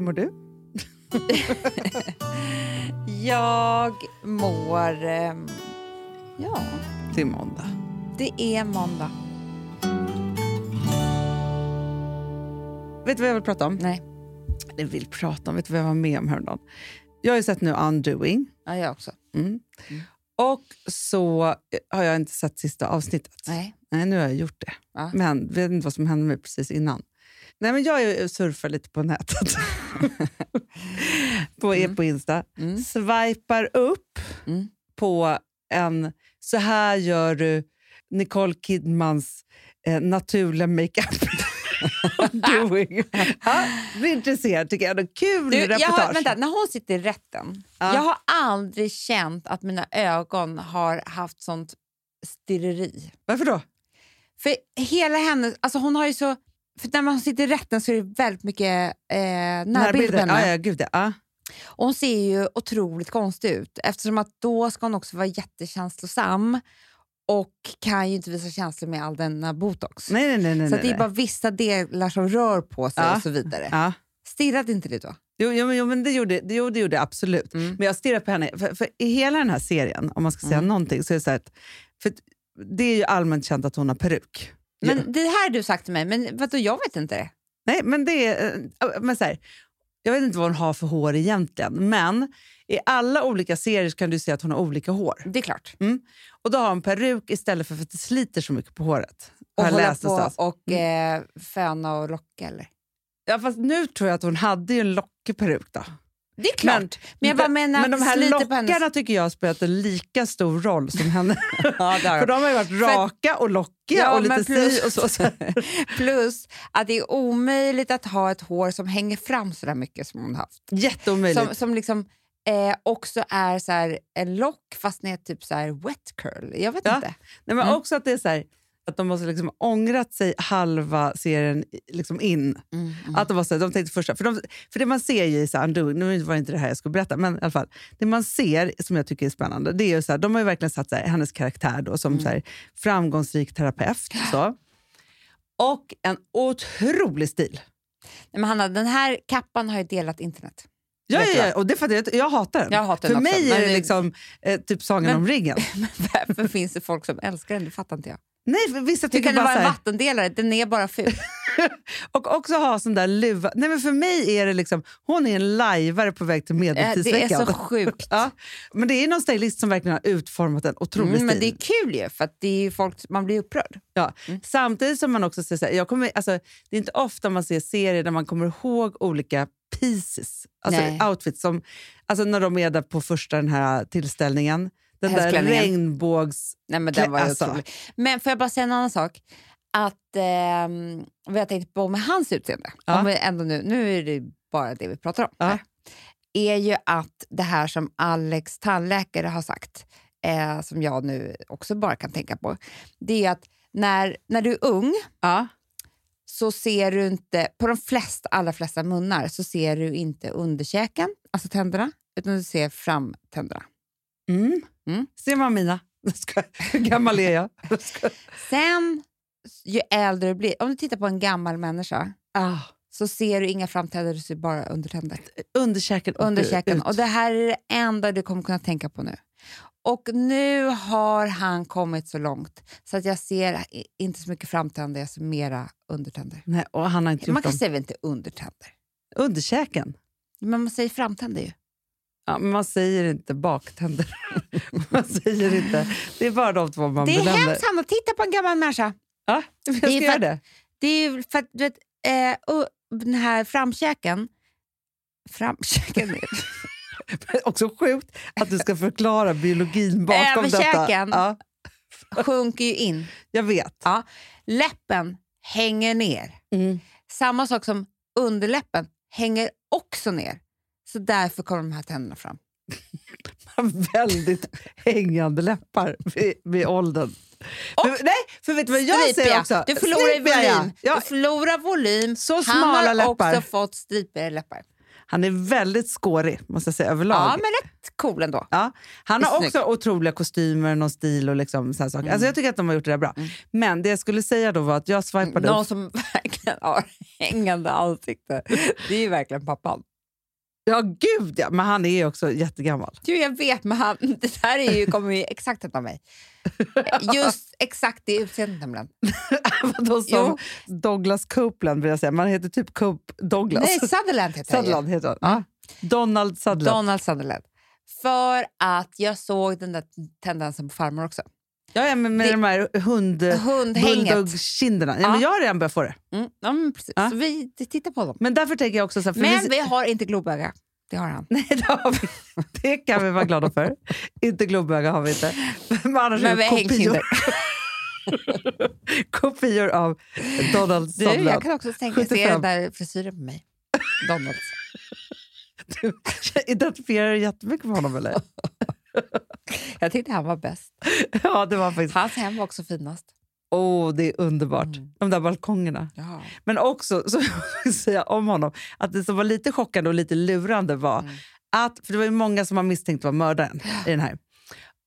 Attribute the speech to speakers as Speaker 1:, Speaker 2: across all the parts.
Speaker 1: mår du?
Speaker 2: Jag mår... ehm, Ja,
Speaker 1: Det är måndag.
Speaker 2: det är måndag.
Speaker 1: Vet du vad jag vill prata om?
Speaker 2: Nej,
Speaker 1: Jag vill prata om, vet du vad jag var med om häromdagen? Jag har ju sett nu Undoing.
Speaker 2: ja, jag också.
Speaker 1: Mm.
Speaker 2: Mm.
Speaker 1: Och så eh, har jag inte sett sista avsnittet.
Speaker 2: Nej.
Speaker 1: Nej, nu har jag gjort det.
Speaker 2: Ja.
Speaker 1: Men vet inte vad som hände mig precis innan. Nej, men jag surfar lite på nätet. på, är på Insta.
Speaker 2: Mm.
Speaker 1: Swipar upp
Speaker 2: Mm.
Speaker 1: på en... Så här gör du Nicole Kidmans eh, naturliga makeup. Doing. Ja, det är intresserad tycker jag. Det är Kul
Speaker 2: Du, jag
Speaker 1: reportage.
Speaker 2: har, vänta, när hon sitter i rätten,
Speaker 1: Ja.
Speaker 2: jag har aldrig känt att mina ögon har haft sånt stirreri.
Speaker 1: Varför då?
Speaker 2: För hela hennes, alltså hon har ju så, för när man sitter i rätten så är det väldigt mycket eh, närbilder på henne.
Speaker 1: Ja, ja, gud ja. ja.
Speaker 2: Och hon ser ju otroligt konstig ut eftersom att då ska hon också vara jättekänslosam och kan ju inte visa känslor med all denna botox.
Speaker 1: Nej, nej, nej. nej,
Speaker 2: så att det
Speaker 1: nej.
Speaker 2: är bara vissa delar som rör på sig
Speaker 1: Ja.
Speaker 2: och så vidare.
Speaker 1: Ja.
Speaker 2: Stirrade inte du då?
Speaker 1: Jo, jo, men- jo, men det gjorde det, jo, det gjorde jag absolut.
Speaker 2: Mm.
Speaker 1: Men jag stirrar på henne. För, för I hela den här serien, om man ska säga någonting, så är det så här att, för att det är ju allmänt känt att hon har peruk.
Speaker 2: Men
Speaker 1: Ja.
Speaker 2: Det här har du sagt till mig, men vadå, jag vet inte det.
Speaker 1: Nej, men det är... eh, Men så här, jag vet inte vad hon har för hår egentligen, men i alla olika serier så kan du se att hon har olika hår.
Speaker 2: Det är klart.
Speaker 1: Och då har hon peruk istället för, för att det sliter så mycket på håret.
Speaker 2: Och
Speaker 1: Har jag
Speaker 2: hålla
Speaker 1: läst
Speaker 2: på
Speaker 1: någonstans. Mm.
Speaker 2: och eh, föna och locka eller?
Speaker 1: Ja, fast nu tror jag att hon hade ju en lockig peruk då.
Speaker 2: Det är klart, men, jag bara menar
Speaker 1: men
Speaker 2: att
Speaker 1: de här
Speaker 2: sliter på hennes...
Speaker 1: lockarna tycker jag har spelat en lika stor roll som henne.
Speaker 2: Ja, det har
Speaker 1: För
Speaker 2: de.
Speaker 1: de har ju varit raka och lockiga
Speaker 2: Ja,
Speaker 1: och lite
Speaker 2: men
Speaker 1: si
Speaker 2: plus-
Speaker 1: och så. så.
Speaker 2: Plus att det är omöjligt att ha ett hår som hänger fram så där mycket som hon har haft.
Speaker 1: Jätteomöjligt.
Speaker 2: Som, som liksom eh, också är så här en lock fast med typ så här wet curl. Jag vet
Speaker 1: Ja.
Speaker 2: inte.
Speaker 1: Nej, men
Speaker 2: Mm.
Speaker 1: också att det är så här, att de måste liksom ångrat sig halva serien i- liksom in.
Speaker 2: Mm.
Speaker 1: Att de, var så här, de tänkte första, för, de, för det man ser ju i så här, Undoing, nu var det inte det här jag skulle berätta, men i alla fall, det man ser som jag tycker är spännande, det är ju så här, de har ju verkligen satt så här, hennes karaktär då, som så här, framgångsrik terapeut. Så. Och en otrolig stil.
Speaker 2: Nej, Men Hanna, den här kappan har ju delat internet.
Speaker 1: Ja,
Speaker 2: Vet du
Speaker 1: ja, ja, och det fattar jag. Jag hatar den.
Speaker 2: Jag hatar
Speaker 1: För
Speaker 2: den också,
Speaker 1: mig är
Speaker 2: men
Speaker 1: det
Speaker 2: det-
Speaker 1: liksom, eh, typ Sagan
Speaker 2: Men-
Speaker 1: om ringen.
Speaker 2: Varför finns det folk som älskar den? Det fattar inte jag.
Speaker 1: Nej, för vissa
Speaker 2: Hur
Speaker 1: tycker
Speaker 2: kan det
Speaker 1: bara
Speaker 2: vara
Speaker 1: så
Speaker 2: en
Speaker 1: här,
Speaker 2: vattendelare? Den är bara ful.
Speaker 1: Och också ha sån där luva. Nej, men för mig är det liksom, hon är en lajvare på väg till
Speaker 2: Eh, det
Speaker 1: medeltidsveckan.
Speaker 2: är så sjukt.
Speaker 1: Ja, men det är någon stylist som verkligen har utformat en otrolig
Speaker 2: Mm, men det Mm.
Speaker 1: stil.
Speaker 2: är kul ju, för att det är ju folk, man blir upprörd.
Speaker 1: Ja. Samtidigt som man också ser så här, jag kommer, alltså, det är inte ofta man ser serier där man kommer ihåg olika pieces, alltså
Speaker 2: Nej.
Speaker 1: outfits. Som, alltså när de är där på första den här tillställningen, den där
Speaker 2: Hästklänningen.
Speaker 1: regnbågs...
Speaker 2: Nej, men den var ju
Speaker 1: Alltså.
Speaker 2: otrolig. Men får jag bara säga en annan sak? Att, ehm, vad jag tänkte på med hans utseende,
Speaker 1: Ja.
Speaker 2: om vi ändå nu, nu är det bara det vi pratar om,
Speaker 1: Ja.
Speaker 2: här, är ju att det här som Alex tandläkare har sagt, eh, som jag nu också bara kan tänka på, det är att när, när du är ung
Speaker 1: Ja.
Speaker 2: så ser du inte, på de flesta, allra flesta munnar så ser du inte underkäken, alltså tänderna, utan du ser framtänderna.
Speaker 1: Mm.
Speaker 2: Mm.
Speaker 1: Ser man mina? Ska- Hur gammal är jag? Ska-
Speaker 2: Sen, ju äldre du blir, om du tittar på en gammal människa
Speaker 1: Ah,
Speaker 2: så ser du inga framtänder, du ser bara undertänder.
Speaker 1: underkäken upp-
Speaker 2: Underkäken.
Speaker 1: ut.
Speaker 2: Och det här är det enda du kommer kunna tänka på nu. Och nu har han kommit så långt så att jag ser i- inte så mycket framtänder, jag ser mera undertänder.
Speaker 1: Nej, och han har inte
Speaker 2: Man
Speaker 1: gjort
Speaker 2: kan
Speaker 1: dem.
Speaker 2: säga väl inte undertänder,
Speaker 1: Underkäken?
Speaker 2: men man säger framtänder ju.
Speaker 1: Ja, men man säger inte baktänder. man säger inte. Det är bara de två man
Speaker 2: Det är
Speaker 1: benämner.
Speaker 2: hemskt Hanna, titta på en gammal människa.
Speaker 1: Ja, jag ska
Speaker 2: är för-
Speaker 1: göra det.
Speaker 2: Det är ju för att du vet, eh, och den här framkäken, framkäken,
Speaker 1: Också sjukt att du ska förklara biologin bakom detta.
Speaker 2: Överkäken.
Speaker 1: Ja,
Speaker 2: sjunker ju in.
Speaker 1: jag vet.
Speaker 2: Ja. Läppen hänger ner.
Speaker 1: Mm.
Speaker 2: Samma sak som underläppen hänger också ner. Så därför kommer de här tänderna fram.
Speaker 1: Väldigt hängande läppar vid, vid åldern.
Speaker 2: Och
Speaker 1: Men- nej, för vet du vad jag
Speaker 2: Stripiga.
Speaker 1: säger också?
Speaker 2: Du förlorar i
Speaker 1: Stripiga, ja.
Speaker 2: volym.
Speaker 1: Ja,
Speaker 2: Du förlorar volym.
Speaker 1: Så
Speaker 2: Han
Speaker 1: smala
Speaker 2: har
Speaker 1: läppar.
Speaker 2: också fått stripigare läppar.
Speaker 1: Han är väldigt skårig, måste jag säga, överlag.
Speaker 2: Ja, men rätt cool ändå.
Speaker 1: Ja, han
Speaker 2: Det är
Speaker 1: har
Speaker 2: snyggt. Mm.
Speaker 1: också otroliga kostymer, någon stil och liksom sådana saker. Alltså jag tycker att de har gjort det där bra. Men det jag skulle säga då var att jag swipade
Speaker 2: Någon
Speaker 1: upp.
Speaker 2: som verkligen har hängande ansikte. Det är ju verkligen pappan.
Speaker 1: Ja, gud ja. Men han är ju också jättegammal.
Speaker 2: Du, jag vet, men han, det här är ju, kommer ju exakt hända mig. Just exakt det utseendet nämligen.
Speaker 1: Vadå som Douglas Copeland vill jag säga. Man heter typ Cope Douglas.
Speaker 2: Nej, Sutherland heter han ju.
Speaker 1: Sutherland heter han. Ja. Donald Sutherland.
Speaker 2: Donald Sutherland. För att jag såg den där tendensen på farmor också.
Speaker 1: ja, ja, men med
Speaker 2: Det-
Speaker 1: de här hund...
Speaker 2: Hundhänget.
Speaker 1: Bulldog-kinderna. Ja,
Speaker 2: Ja.
Speaker 1: Men jag har redan börjat få det.
Speaker 2: Mm, ja, men precis.
Speaker 1: Ja.
Speaker 2: Så vi tittar på dem.
Speaker 1: Men därför tänker jag också så här, för
Speaker 2: Men
Speaker 1: vi-
Speaker 2: vi har inte globöga. Det har han.
Speaker 1: Nej, det, har vi. det kan vi vara glada för. Inte Globöga har vi inte. Men annars
Speaker 2: Men
Speaker 1: är
Speaker 2: vi
Speaker 1: det
Speaker 2: har
Speaker 1: kopior,
Speaker 2: hängkinder.
Speaker 1: kopior av Donald
Speaker 2: Du, jag
Speaker 1: Sutherland.
Speaker 2: kan också tänka se
Speaker 1: 75.
Speaker 2: den där frisyren på mig. Donalds.
Speaker 1: Du identifierar dig jättemycket med honom eller?
Speaker 2: Jag tyckte han var bäst.
Speaker 1: Ja, det var han faktiskt.
Speaker 2: Hans hem var också finast.
Speaker 1: Åh, det är underbart.
Speaker 2: Mm.
Speaker 1: De där balkongerna.
Speaker 2: Ja.
Speaker 1: Men också, så jag vill säga om honom, att det som var lite chockande och lite lurande var
Speaker 2: Mm.
Speaker 1: att, för det var ju många som man misstänkt var mördaren i den här.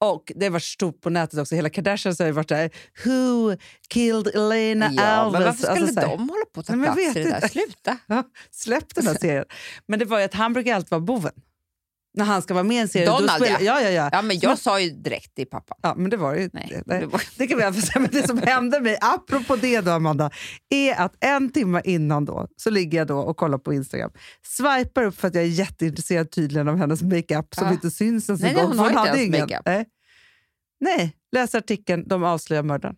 Speaker 1: Och det var stort på nätet också. Hela Kardashians har ju varit där. Who killed Elena
Speaker 2: Ja,
Speaker 1: Alves?
Speaker 2: men varför skulle
Speaker 1: Alltså så här-
Speaker 2: de hålla på att ta
Speaker 1: Nej, men jag
Speaker 2: plats i
Speaker 1: vet
Speaker 2: det där?
Speaker 1: inte.
Speaker 2: Sluta!
Speaker 1: Ja, släpp den här serien. Men det var ju att han brukar alltid vara boven. När han ska vara med i en serie. då
Speaker 2: Donald,
Speaker 1: spelar- ja. ja, ja, ja.
Speaker 2: Ja, men jag sa ju direkt till pappa.
Speaker 1: men det var ju...
Speaker 2: Nej,
Speaker 1: Nej.
Speaker 2: det var...
Speaker 1: Det kan vi i alla fall säga. Men det som hände mig, apropå det då Amanda, är att en timme innan då så ligger jag då och kollar på Instagram. Swipar upp för att jag är jätteintresserad tydligen av hennes makeup som
Speaker 2: Ja.
Speaker 1: inte syns ens
Speaker 2: Ah. Nej,
Speaker 1: en gång.
Speaker 2: hon
Speaker 1: för
Speaker 2: har inte
Speaker 1: hade
Speaker 2: ens
Speaker 1: ingen.
Speaker 2: makeup.
Speaker 1: Nej. Nej, läs artikeln, de avslöjar mördaren.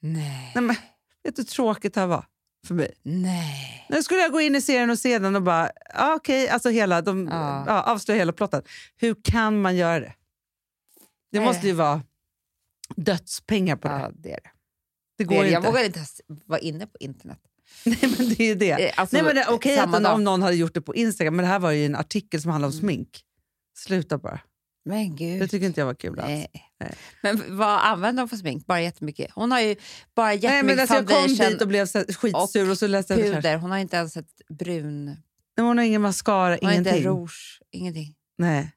Speaker 2: Nej.
Speaker 1: Nej, men, vet du hur tråkigt det här var för mig?
Speaker 2: Nej.
Speaker 1: Nu skulle jag gå in i serien och se den och bara, ah, okej, alltså hela, de
Speaker 2: Ja.
Speaker 1: ja, avslöjar hela plotten. Hur kan man göra det? Det
Speaker 2: Nej.
Speaker 1: måste ju vara dödspengar på det.
Speaker 2: Ja, det är det.
Speaker 1: det
Speaker 2: det,
Speaker 1: går
Speaker 2: är det.
Speaker 1: inte.
Speaker 2: Jag vågar inte ens vara inne på internet.
Speaker 1: Nej, men det är ju det.
Speaker 2: Eh, Alltså,
Speaker 1: Nej, men det är okej
Speaker 2: samma
Speaker 1: att
Speaker 2: dag.
Speaker 1: om någon hade gjort det på Instagram, men det här var ju en artikel som handlade om
Speaker 2: Mm.
Speaker 1: smink. Sluta bara.
Speaker 2: Men
Speaker 1: Det
Speaker 2: gud.
Speaker 1: tycker inte jag var kul alls.
Speaker 2: Nej. Men vad använder hon för smink? Bara jättemycket. Hon har ju bara
Speaker 1: Nej,
Speaker 2: jättemycket
Speaker 1: men alltså, jag kom
Speaker 2: foundation
Speaker 1: dit och blev så här skitsur och, så läste jag det här.
Speaker 2: puder. Hon har inte ens ett brun...
Speaker 1: Nej, Hon har ingen mascara,
Speaker 2: Hon har inte
Speaker 1: ingenting.
Speaker 2: rouge. Ingenting.
Speaker 1: Nej.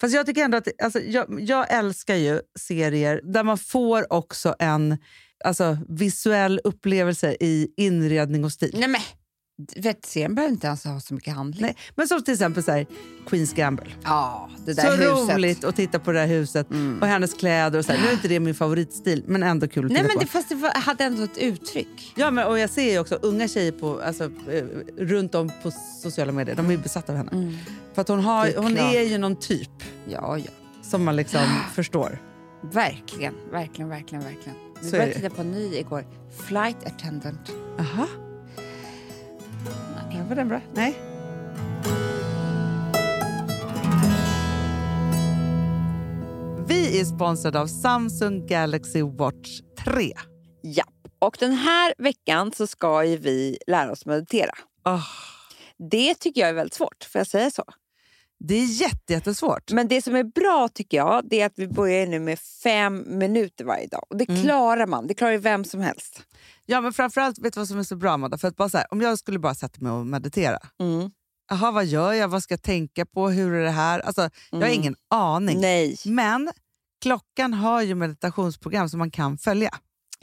Speaker 1: Fast jag tycker ändå att, alltså, jag, jag älskar ju serier där man får också en alltså, visuell upplevelse i inredning och stil.
Speaker 2: Nej men! du Vet, serien behöver inte ens ha så mycket handling.
Speaker 1: Nej. Men som till exempel så här, Queen's Gamble.
Speaker 2: Ja, det
Speaker 1: Så
Speaker 2: där huset.
Speaker 1: roligt att titta på det här huset
Speaker 2: Mm.
Speaker 1: och hennes kläder. Och så här. Nu är inte det min favoritstil, men ändå kul att
Speaker 2: Nej,
Speaker 1: titta
Speaker 2: men
Speaker 1: på.
Speaker 2: det, fast det var, hade ändå ett uttryck.
Speaker 1: Ja, men, och jag ser ju också unga tjejer på, alltså, eh, runt om på sociala medier. De är ju besatta av henne. För att hon,
Speaker 2: Mm. Det
Speaker 1: har,
Speaker 2: är
Speaker 1: hon
Speaker 2: klart.
Speaker 1: är ju någon typ
Speaker 2: Ja, ja.
Speaker 1: som man liksom förstår.
Speaker 2: Verkligen, verkligen, verkligen. verkligen. Vi
Speaker 1: Så är
Speaker 2: började
Speaker 1: det.
Speaker 2: titta på en ny igår. Flight attendant.
Speaker 1: Aha.
Speaker 2: Nej.
Speaker 1: Ja, Var den bra? Nej. Vi är sponsrade av Samsung Galaxy Watch 3.
Speaker 2: Ja, och den här veckan så ska ju vi lära oss meditera.
Speaker 1: Åh,
Speaker 2: Det tycker jag är väldigt svårt, får jag säga så?
Speaker 1: det är jätte, jättesvårt.
Speaker 2: Men det som är bra tycker jag, det är att vi börjar nu med fem minuter varje dag. Och det
Speaker 1: Mm.
Speaker 2: klarar man, det klarar ju vem som helst.
Speaker 1: Ja, men framförallt, vet du vad som är så bra Amanda? För att bara så här, om jag skulle bara sätta mig och meditera.
Speaker 2: Mm.
Speaker 1: Jaha, vad gör jag? Vad ska jag tänka på? Hur är det här? Alltså, jag har
Speaker 2: Mm.
Speaker 1: ingen aning.
Speaker 2: Nej,
Speaker 1: Men klockan har ju meditationsprogram som man kan följa.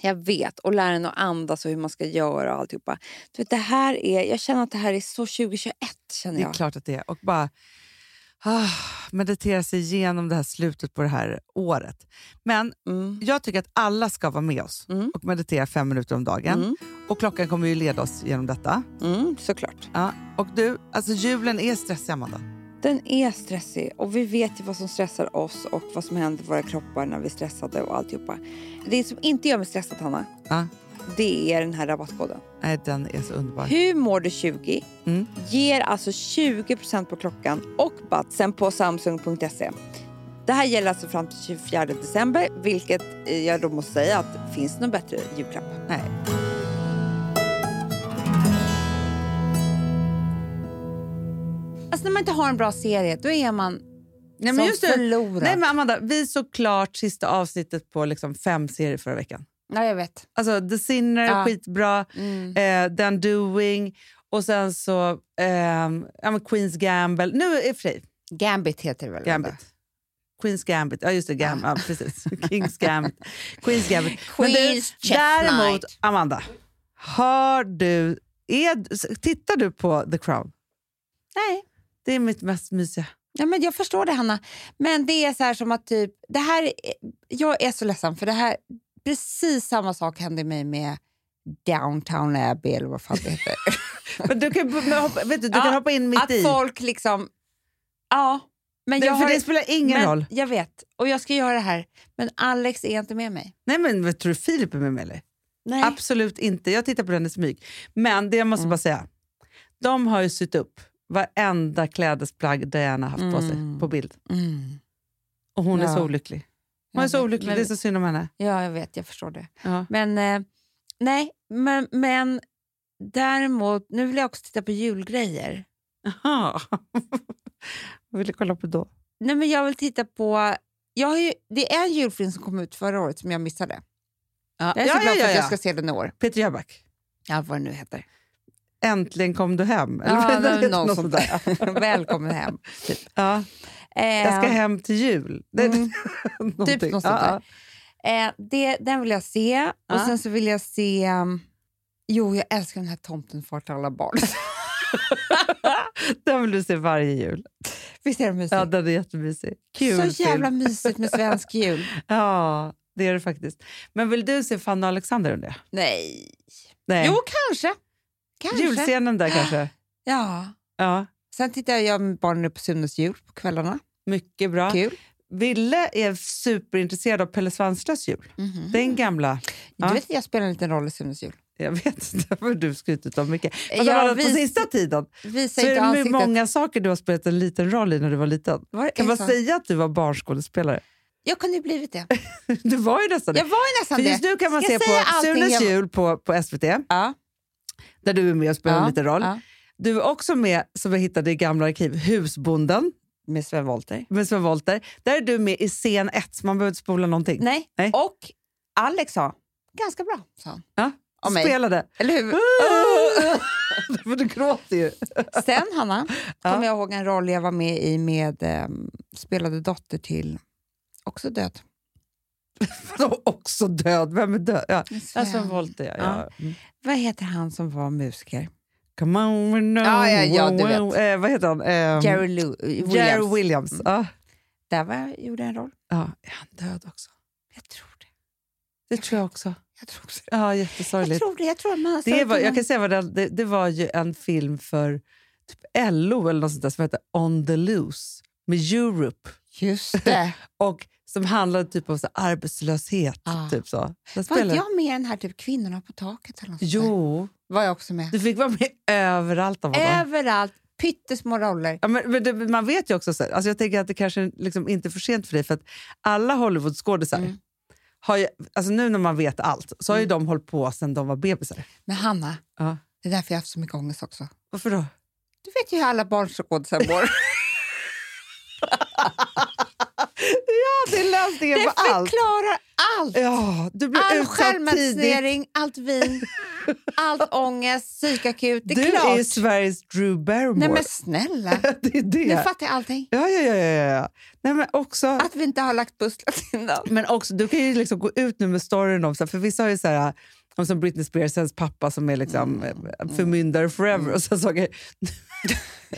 Speaker 2: jag vet. Och lära en att andas och hur man ska göra och alltihopa. Du vet, det här är, jag känner att det här är så 2021, känner
Speaker 1: Det är
Speaker 2: jag.
Speaker 1: klart att det är. Och bara ah, meditera sig igenom det här slutet på det här året. Men
Speaker 2: Mm.
Speaker 1: jag tycker att alla ska vara med oss
Speaker 2: Mm.
Speaker 1: och meditera fem minuter om dagen.
Speaker 2: Mm.
Speaker 1: Och klockan kommer ju leda oss genom detta.
Speaker 2: Mm, såklart.
Speaker 1: Ja. Och du, alltså julen är stressig Amanda.
Speaker 2: Den är stressig och vi vet ju vad som stressar oss och vad som händer i våra kroppar när vi är stressade och alltihopa. Det som inte gör mig stressad, Hanna,
Speaker 1: Ja.
Speaker 2: det är den här rabattkoden.
Speaker 1: Nej, den är så underbar.
Speaker 2: Hur mår du 20?
Speaker 1: Mm.
Speaker 2: Ger alltså 20% på klockan och batsen på samsung.se. Det här gäller alltså fram till 24 december, vilket eh, jag då måste säga att finns det någon bättre julklapp?
Speaker 1: Nej.
Speaker 2: Alltså när man inte har en bra serie, då är man
Speaker 1: Nej,
Speaker 2: som
Speaker 1: men just det.
Speaker 2: förlorad.
Speaker 1: Nej, men Amanda, vi såg klart sista avsnittet på liksom fem serier förra veckan.
Speaker 2: Ja, jag vet.
Speaker 1: Alltså The Sinner,
Speaker 2: Ja.
Speaker 1: skitbra.
Speaker 2: Mm.
Speaker 1: eh, Den Doing och sen så ehm, ja, men Queens Gamble. Nu är för sig
Speaker 2: Gambit heter det väl? ändå?
Speaker 1: Gambit. Queens Gambit. Ja, just det. Gam- ja, precis. Kings Gambit. Queens Gambit. Men du,
Speaker 2: Queens Chestnut.
Speaker 1: däremot, Amanda, har du, är, tittar du på The Crown?
Speaker 2: Nej.
Speaker 1: Det är mitt mest mysiga.
Speaker 2: Ja, men jag förstår det, Hanna. Men det är så här som att typ... Det här, är- jag är så ledsen, för det här, precis samma sak hände mig med Downtown Abbey, eller vad fan det heter.
Speaker 1: Men du kan, men hoppa, vet du, du
Speaker 2: Ja,
Speaker 1: kan hoppa in mitt
Speaker 2: att
Speaker 1: i.
Speaker 2: folk liksom... Ja. Men
Speaker 1: Nej,
Speaker 2: jag
Speaker 1: för
Speaker 2: har,
Speaker 1: det spelar ingen
Speaker 2: men,
Speaker 1: roll.
Speaker 2: Jag vet, och jag ska göra det här. Men Alex är inte med mig.
Speaker 1: Nej, men vad tror du Filip är med mig eller?
Speaker 2: Nej.
Speaker 1: Absolut inte. Jag tittar på den i smyg. Men det jag måste
Speaker 2: Mm.
Speaker 1: bara säga. De har ju sytt upp varenda klädesplagg Diana haft på sig
Speaker 2: Mm.
Speaker 1: på bild.
Speaker 2: Mm.
Speaker 1: Och hon är
Speaker 2: Ja.
Speaker 1: så olycklig. Hon är
Speaker 2: Jag
Speaker 1: så
Speaker 2: vet,
Speaker 1: olycklig.
Speaker 2: men-
Speaker 1: Det är så synd om henne.
Speaker 2: Ja, jag vet. Jag förstår det.
Speaker 1: Ja.
Speaker 2: Men eh, nej, men, men däremot, nu vill jag också titta på julgrejer.
Speaker 1: Jaha. Vad vill du kolla på då?
Speaker 2: Nej, men jag vill titta på... Jag har ju, det är en julfilm som kom ut förra året som jag missade.
Speaker 1: Ja,
Speaker 2: Jag är
Speaker 1: ja,
Speaker 2: så
Speaker 1: ja,
Speaker 2: glad för
Speaker 1: ja,
Speaker 2: att jag ska se den i år.
Speaker 1: Peter Jöback.
Speaker 2: Ja, vad det nu heter.
Speaker 1: Äntligen kom du hem. Eller
Speaker 2: Ja,
Speaker 1: vad heter
Speaker 2: men
Speaker 1: det?
Speaker 2: något sånt där. Välkommen hem.
Speaker 1: Ja,
Speaker 2: Eh,
Speaker 1: jag ska hem till jul. Det är
Speaker 2: Mm,
Speaker 1: någonting.
Speaker 2: typ något sånt
Speaker 1: Ja,
Speaker 2: där. Eh, det, den vill jag se. Och
Speaker 1: Ja.
Speaker 2: sen så vill jag se... um, Jo, jag älskar den här Tomten far till alla barn.
Speaker 1: ja. Den vill du se varje jul.
Speaker 2: Visst är den mysig?
Speaker 1: Ja, den är jättemysig. Kul
Speaker 2: så jävla
Speaker 1: film.
Speaker 2: mysigt med svensk jul.
Speaker 1: Ja, det är det faktiskt. Men vill du se Fanny och Alexander om det?
Speaker 2: Nej.
Speaker 1: Nej.
Speaker 2: Jo, kanske. kanske.
Speaker 1: Julscenen där kanske?
Speaker 2: Ja.
Speaker 1: Ja,
Speaker 2: Sen tittar jag med barnen på Sunes jul på kvällarna.
Speaker 1: mycket bra.
Speaker 2: Kul.
Speaker 1: Ville är superintresserad av Pelle Svanslös jul.
Speaker 2: Mhm.
Speaker 1: Den gamla.
Speaker 2: Du
Speaker 1: Ja.
Speaker 2: vet att jag spelar en liten roll i Sunes jul.
Speaker 1: Jag vet inte vad du skrutit om mycket. Fast
Speaker 2: Jag
Speaker 1: jag på
Speaker 2: vis-
Speaker 1: sista tiden
Speaker 2: Visa
Speaker 1: så är det
Speaker 2: inte
Speaker 1: mu-
Speaker 2: ansiktet.
Speaker 1: många saker du har spelat en liten roll i när du var liten.
Speaker 2: Var,
Speaker 1: Kan
Speaker 2: är
Speaker 1: man
Speaker 2: så?
Speaker 1: säga att du var barnskådespelare?
Speaker 2: Jag kunde ju blivit det.
Speaker 1: Du var ju nästan
Speaker 2: Jag
Speaker 1: det.
Speaker 2: var ju
Speaker 1: För
Speaker 2: nästan
Speaker 1: just
Speaker 2: det.
Speaker 1: nu kan man
Speaker 2: Ska
Speaker 1: se
Speaker 2: jag säga
Speaker 1: på
Speaker 2: allting
Speaker 1: Sunes
Speaker 2: jag-
Speaker 1: jul på, på SVT,
Speaker 2: Ja.
Speaker 1: där du är med och spelar en
Speaker 2: Ja,
Speaker 1: liten roll.
Speaker 2: ja.
Speaker 1: Du är också med, som jag hittade i gamla arkiv, Husbonden
Speaker 2: Med Sven Wollter.
Speaker 1: med Sven Wollter. Där är du med i scen 1, så man behöver inte spola någonting.
Speaker 2: Nej.
Speaker 1: Nej.
Speaker 2: Och Alex sa, ganska bra, sa han.
Speaker 1: Ja, du
Speaker 2: Om mig.
Speaker 1: spelade.
Speaker 2: Eller hur?
Speaker 1: För du gråter ju.
Speaker 2: Sen, Hanna,
Speaker 1: Ja.
Speaker 2: kommer jag ihåg en roll jag var med i med ehm, spelade dotter till, också död.
Speaker 1: Vadå också död? Vem är död? Ja. Ja, Sven
Speaker 2: Sven.
Speaker 1: Wollter, Mm. ja. ja.
Speaker 2: Ja.
Speaker 1: Mm.
Speaker 2: Vad heter han som var musiker?
Speaker 1: Come on, we know.
Speaker 2: Ja, ja, ja, du
Speaker 1: wow, wow. Eh, vad heter han? Eh,
Speaker 2: Jerry Lew- Williams.
Speaker 1: Jerry Williams.
Speaker 2: Mm.
Speaker 1: Ja.
Speaker 2: Där var jag, gjorde jag en roll.
Speaker 1: Ja. Är han död också?
Speaker 2: Jag tror det.
Speaker 1: Det tror jag också.
Speaker 2: Jag tror det.
Speaker 1: Ja,
Speaker 2: Jag
Speaker 1: jättesorgligt.
Speaker 2: tror det. Jag tror att man har
Speaker 1: Det
Speaker 2: sett
Speaker 1: var, jag
Speaker 2: honom.
Speaker 1: kan säga vad det, det, det var ju en film för typ LO eller något sånt där som hette On the Loose med Europe
Speaker 2: Just det.
Speaker 1: och som handlade typ om så här arbetslöshet.
Speaker 2: Ah.
Speaker 1: Typ så. Där
Speaker 2: Var
Speaker 1: spelade-
Speaker 2: inte jag med i den här typ Kvinnorna på taket? Eller något sånt där?
Speaker 1: Jo,
Speaker 2: Var jag också med?
Speaker 1: du fick vara med överallt av honom.
Speaker 2: Överallt, pyttesmå roller.
Speaker 1: Ja, men, men det, man vet ju också, så här, alltså jag tänker att det kanske liksom inte är för sent för dig, för att alla Hollywoodskådisar
Speaker 2: Mm.
Speaker 1: har ju, alltså nu när man vet allt, så har ju de hållit på sedan de var bebisar.
Speaker 2: Men Hanna,
Speaker 1: Mm. Ja.
Speaker 2: det är därför jag har haft så mycket ångest också.
Speaker 1: Varför då?
Speaker 2: Du vet ju hur alla barnskådisar mår.
Speaker 1: Ja, det är lösningen
Speaker 2: Det
Speaker 1: på allt.
Speaker 2: förklarar allt!
Speaker 1: Ja, du blir
Speaker 2: All
Speaker 1: utsatt tidigt.
Speaker 2: självmedicinering, allt vin, allt ångest, psykakut. Det är
Speaker 1: Du
Speaker 2: klart.
Speaker 1: är Sveriges Drew Barrymore.
Speaker 2: Nej men snälla,
Speaker 1: det är
Speaker 2: nu
Speaker 1: det.
Speaker 2: fattar jag allting.
Speaker 1: Ja, ja, ja. ja, ja. Nej, men också...
Speaker 2: Att vi inte har lagt pusslet innan.
Speaker 1: Men också, du kan ju liksom gå ut nu med storyn om, så här, för vissa har ju så här, om som Britney Spears hennes pappa som är liksom
Speaker 2: Mm,
Speaker 1: eh, förmyndare forever. Och sen så,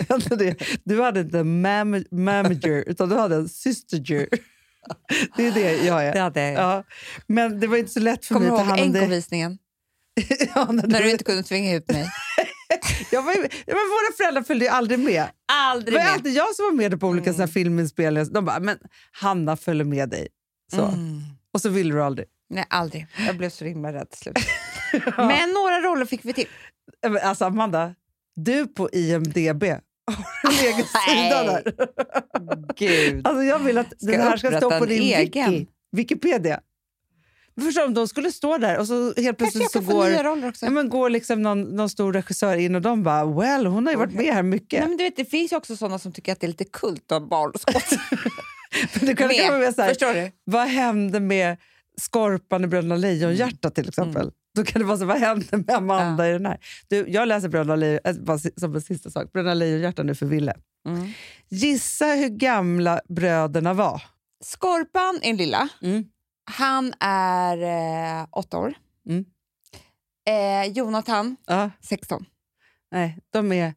Speaker 1: Hände det? du hade inte en mam- mamager, utan du hade en sisterger. Det är det jag är.
Speaker 2: hade jag.
Speaker 1: Ja. Men det var inte så lätt för
Speaker 2: Kommer
Speaker 1: mig
Speaker 2: du
Speaker 1: att ta
Speaker 2: ihåg
Speaker 1: hand om dig.
Speaker 2: enkovisningen?
Speaker 1: Ja, när
Speaker 2: När
Speaker 1: du-
Speaker 2: du inte kunde tvinga ut mig.
Speaker 1: jag var ju- ja, men Våra föräldrar följde ju aldrig med. Det
Speaker 2: Aldrig
Speaker 1: var
Speaker 2: mer.
Speaker 1: alltid jag som var med på olika mm. filminspelningar. De bara, men Hanna följer med dig. Så.
Speaker 2: Mm.
Speaker 1: Och så ville du aldrig.
Speaker 2: Nej, aldrig. Jag blev så himla rädd till slut. Men några roller fick vi till.
Speaker 1: Ja, men Alltså Amanda, du på IMDB har en egen
Speaker 2: Nej.
Speaker 1: sida där.
Speaker 2: Gud.
Speaker 1: Alltså jag vill att den
Speaker 2: jag
Speaker 1: här ska stå
Speaker 2: upprätta
Speaker 1: på
Speaker 2: en
Speaker 1: din
Speaker 2: egen?
Speaker 1: Wiki, Wikipedia. Men Förstår du, om de skulle stå där och så helt
Speaker 2: Kanske
Speaker 1: plötsligt
Speaker 2: jag
Speaker 1: så
Speaker 2: kan få nya
Speaker 1: går,
Speaker 2: roller också.
Speaker 1: ja, men går liksom någon, någon stor regissör in och de bara “well, hon har ju varit med här mycket”.
Speaker 2: Nej, men du vet, det finns ju också sådana som tycker att det är lite kult av barn.
Speaker 1: Du kan
Speaker 2: Med.
Speaker 1: komma med så här,
Speaker 2: Förstår du?
Speaker 1: vad hände med Skorpan i Bröderna Lejonhjärta
Speaker 2: Mm.
Speaker 1: till exempel? Då kan det vara så, vad hände med Amanda i den här? Du, jag läser Bröderna Lejonhjärta, äh, bara si- som en sista sak, Bröderna Lejonhjärta nu för Ville.
Speaker 2: Mm.
Speaker 1: Gissa hur gamla bröderna var.
Speaker 2: Skorpan är en lilla.
Speaker 1: Mm.
Speaker 2: Han är eh, åtta år.
Speaker 1: Mm.
Speaker 2: Eh, Jonathan,
Speaker 1: Ja,
Speaker 2: 16.
Speaker 1: nej, de är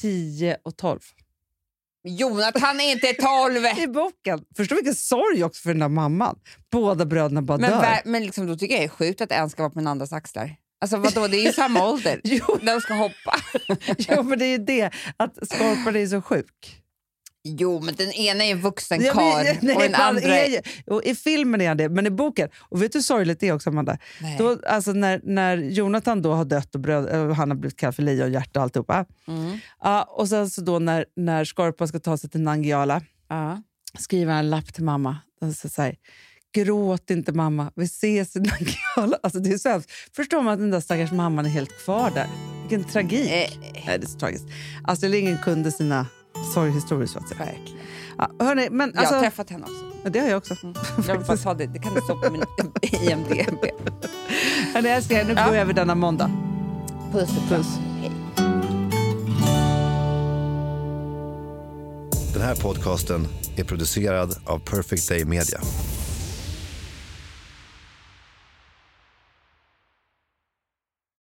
Speaker 1: 10 och 12.
Speaker 2: Jonathan är inte 12!
Speaker 1: i boken. Förstå vilken sorg också för den där mamman. Båda bröderna bara
Speaker 2: Men,
Speaker 1: dör.
Speaker 2: vär- men liksom, då tycker jag det är sjukt att en ska vara på den andras axlar. Alltså vadå, det är ju samma ålder.
Speaker 1: Jo.
Speaker 2: De ska hoppa.
Speaker 1: jo, men det är ju det att Skorpan är så sjuk.
Speaker 2: Jo, men den ena är ju vuxen
Speaker 1: Ja, men-
Speaker 2: karl
Speaker 1: nej,
Speaker 2: och den
Speaker 1: han
Speaker 2: andra...
Speaker 1: är ju- jo, I filmen är han det, men i boken... Och vet du hur sorgligt det är också, Amanda?
Speaker 2: Nej.
Speaker 1: Då, alltså när, när Jonathan då har dött och bröd, och han har blivit kallad för lejonhjärta och alltihopa.
Speaker 2: Mm.
Speaker 1: Ja, och sen så då när, när Skorpan ska ta sig till Nangijala
Speaker 2: Ja.
Speaker 1: skriver han en lapp till mamma. Den så så här, Gråt inte mamma, vi ses i Nangijala. Alltså det är så hemskt. Förstår man att den där stackars mamman är helt kvar där? Vilken tragik.
Speaker 2: Eh,
Speaker 1: Nej, det är så tragiskt. Alltså, Astrid Lindgren kunde sina sorghistorier så att säga.
Speaker 2: verkligen.
Speaker 1: Ja, hörni, men
Speaker 2: Jag har
Speaker 1: alltså,
Speaker 2: träffat henne också.
Speaker 1: det har jag också.
Speaker 2: Jag vill bara ta det. Det kan du stå på min IMDB.
Speaker 1: Hörni, älsklingar, nu
Speaker 2: Ja.
Speaker 1: börjar vi denna måndag.
Speaker 2: Puss och
Speaker 1: Puss.
Speaker 3: Den här podcasten är producerad av Perfect Day Media.